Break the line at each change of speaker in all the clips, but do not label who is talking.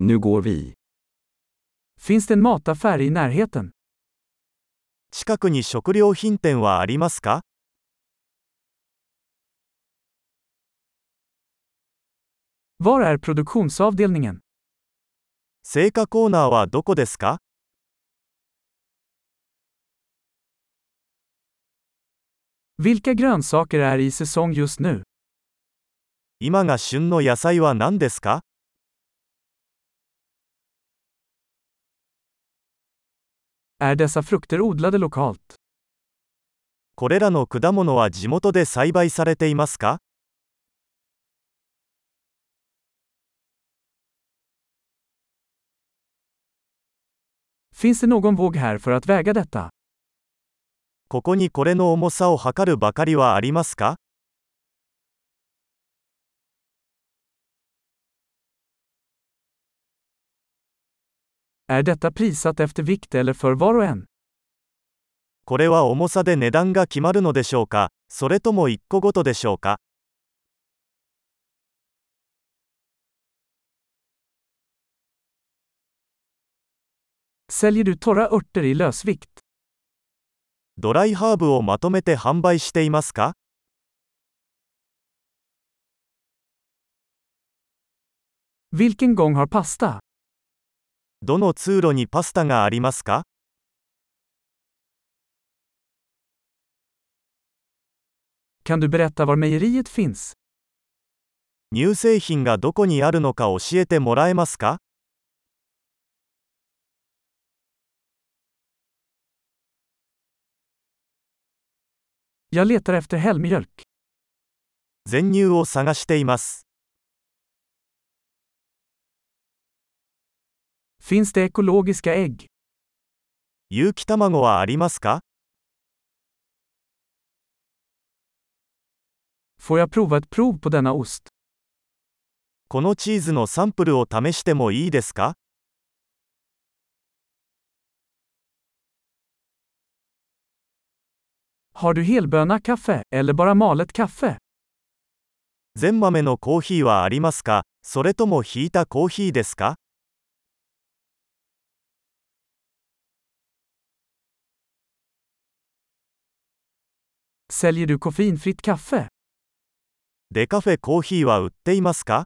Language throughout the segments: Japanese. Nu går vi.
Finns det en mataffär i närheten?
近くに食料品店はありますか
Var är produktionsavdelningen?
青果コーナーはどこですか
Vilka grönsaker är i säsong just nu?
今が旬の野菜は何ですか
Är dessa frukter odlade lokalt?
これらの果物は地元で栽培されていますか
Finns det någon våg här för att väga detta?
ここにこれの重さを測るばかりはありますか
Är detta prissatt efter vikt eller för var och en?
これは重さで値段が決まるのでしょうかそれとも1個ごとでしょうか
Säljer du torra örter i lösvikt?
ドライハーブをまとめて販売していますか
Vilken gång har pasta?
どの通路にパスタがありますか
Kan du berätta var mejeriet finns?
乳製品がどこにあるのか教えてもらえますか
Jag letar efter helmjölk.
全乳を探しています。
Finns det ekologiska ägg?
有機卵はありますか
Får jag prova ett prov på denna ost?
このチーズのサンプルを試してもいいですか
Har du helböna kaffe, eller bara malet kaffe?
全豆のコーヒーはありますかそれともひいたコーヒーですか
Säljer du koffeinfritt kaffe?
デカフェコーヒーは売っていますか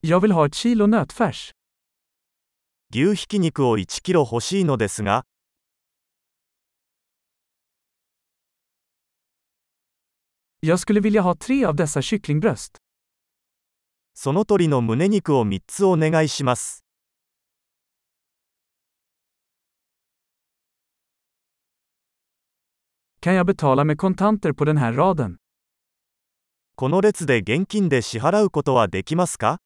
Jag vill ha ett kilo nötfärs.
牛ひき肉を1キロ欲しいのですが、
Jag skulle vilja ha tre av dessa kycklingbröst.
その鳥の胸肉を3つお願いします。
Kan jag betala med kontanter på den här raden?
この列で現金で支払うことはできますか